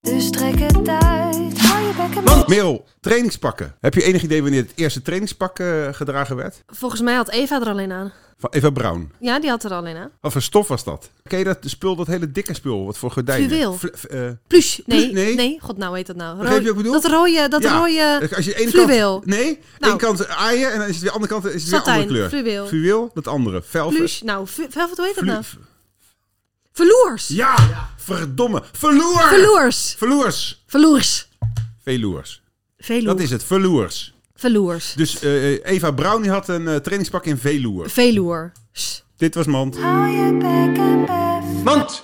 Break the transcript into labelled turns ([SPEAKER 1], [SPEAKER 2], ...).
[SPEAKER 1] Dus trek het uit, hou je bek en
[SPEAKER 2] Merel, trainingspakken. Heb je enig idee wanneer het eerste trainingspak eh, gedragen werd?
[SPEAKER 3] Volgens mij had Eva er alleen aan.
[SPEAKER 2] Van Eva Brown.
[SPEAKER 3] Ja, die had er alleen aan.
[SPEAKER 2] Wat voor stof was dat? Ken je dat spul, dat hele dikke spul, wat voor gordijnen?
[SPEAKER 3] Fluweel.
[SPEAKER 2] Fl- f- eh,
[SPEAKER 3] Plush.
[SPEAKER 2] Plush,
[SPEAKER 3] Nee,
[SPEAKER 2] nee.
[SPEAKER 3] nee. god, nou heet dat nou.
[SPEAKER 2] Begrijp je wat ik bedoel?
[SPEAKER 3] Dat rode, dat
[SPEAKER 2] ja.
[SPEAKER 3] rode...
[SPEAKER 2] Als je de ene
[SPEAKER 3] fluweel.
[SPEAKER 2] Kant, nee,
[SPEAKER 3] Nou.
[SPEAKER 2] één kant aaien en dan is het weer andere kant is het weer een andere
[SPEAKER 3] Satijn,
[SPEAKER 2] kleur.
[SPEAKER 3] fluweel.
[SPEAKER 2] Fluweel, dat andere. Velvet.
[SPEAKER 3] Plush. Nou, v- velvet, hoe heet dat
[SPEAKER 2] Flu-
[SPEAKER 3] nou?
[SPEAKER 2] f-
[SPEAKER 3] Verloers.
[SPEAKER 2] ja, verdomme. Verloer!
[SPEAKER 3] Verloers.
[SPEAKER 2] Verloers.
[SPEAKER 3] Verloers.
[SPEAKER 2] Veloers.
[SPEAKER 3] Veloers.
[SPEAKER 2] Dat is het, verloers.
[SPEAKER 3] Verloers.
[SPEAKER 2] Dus eh, Eva Brown die had een eh, trainingspak in veloer.
[SPEAKER 3] Veloer. S.
[SPEAKER 2] Dit was Mand.
[SPEAKER 1] hou je bek en bef.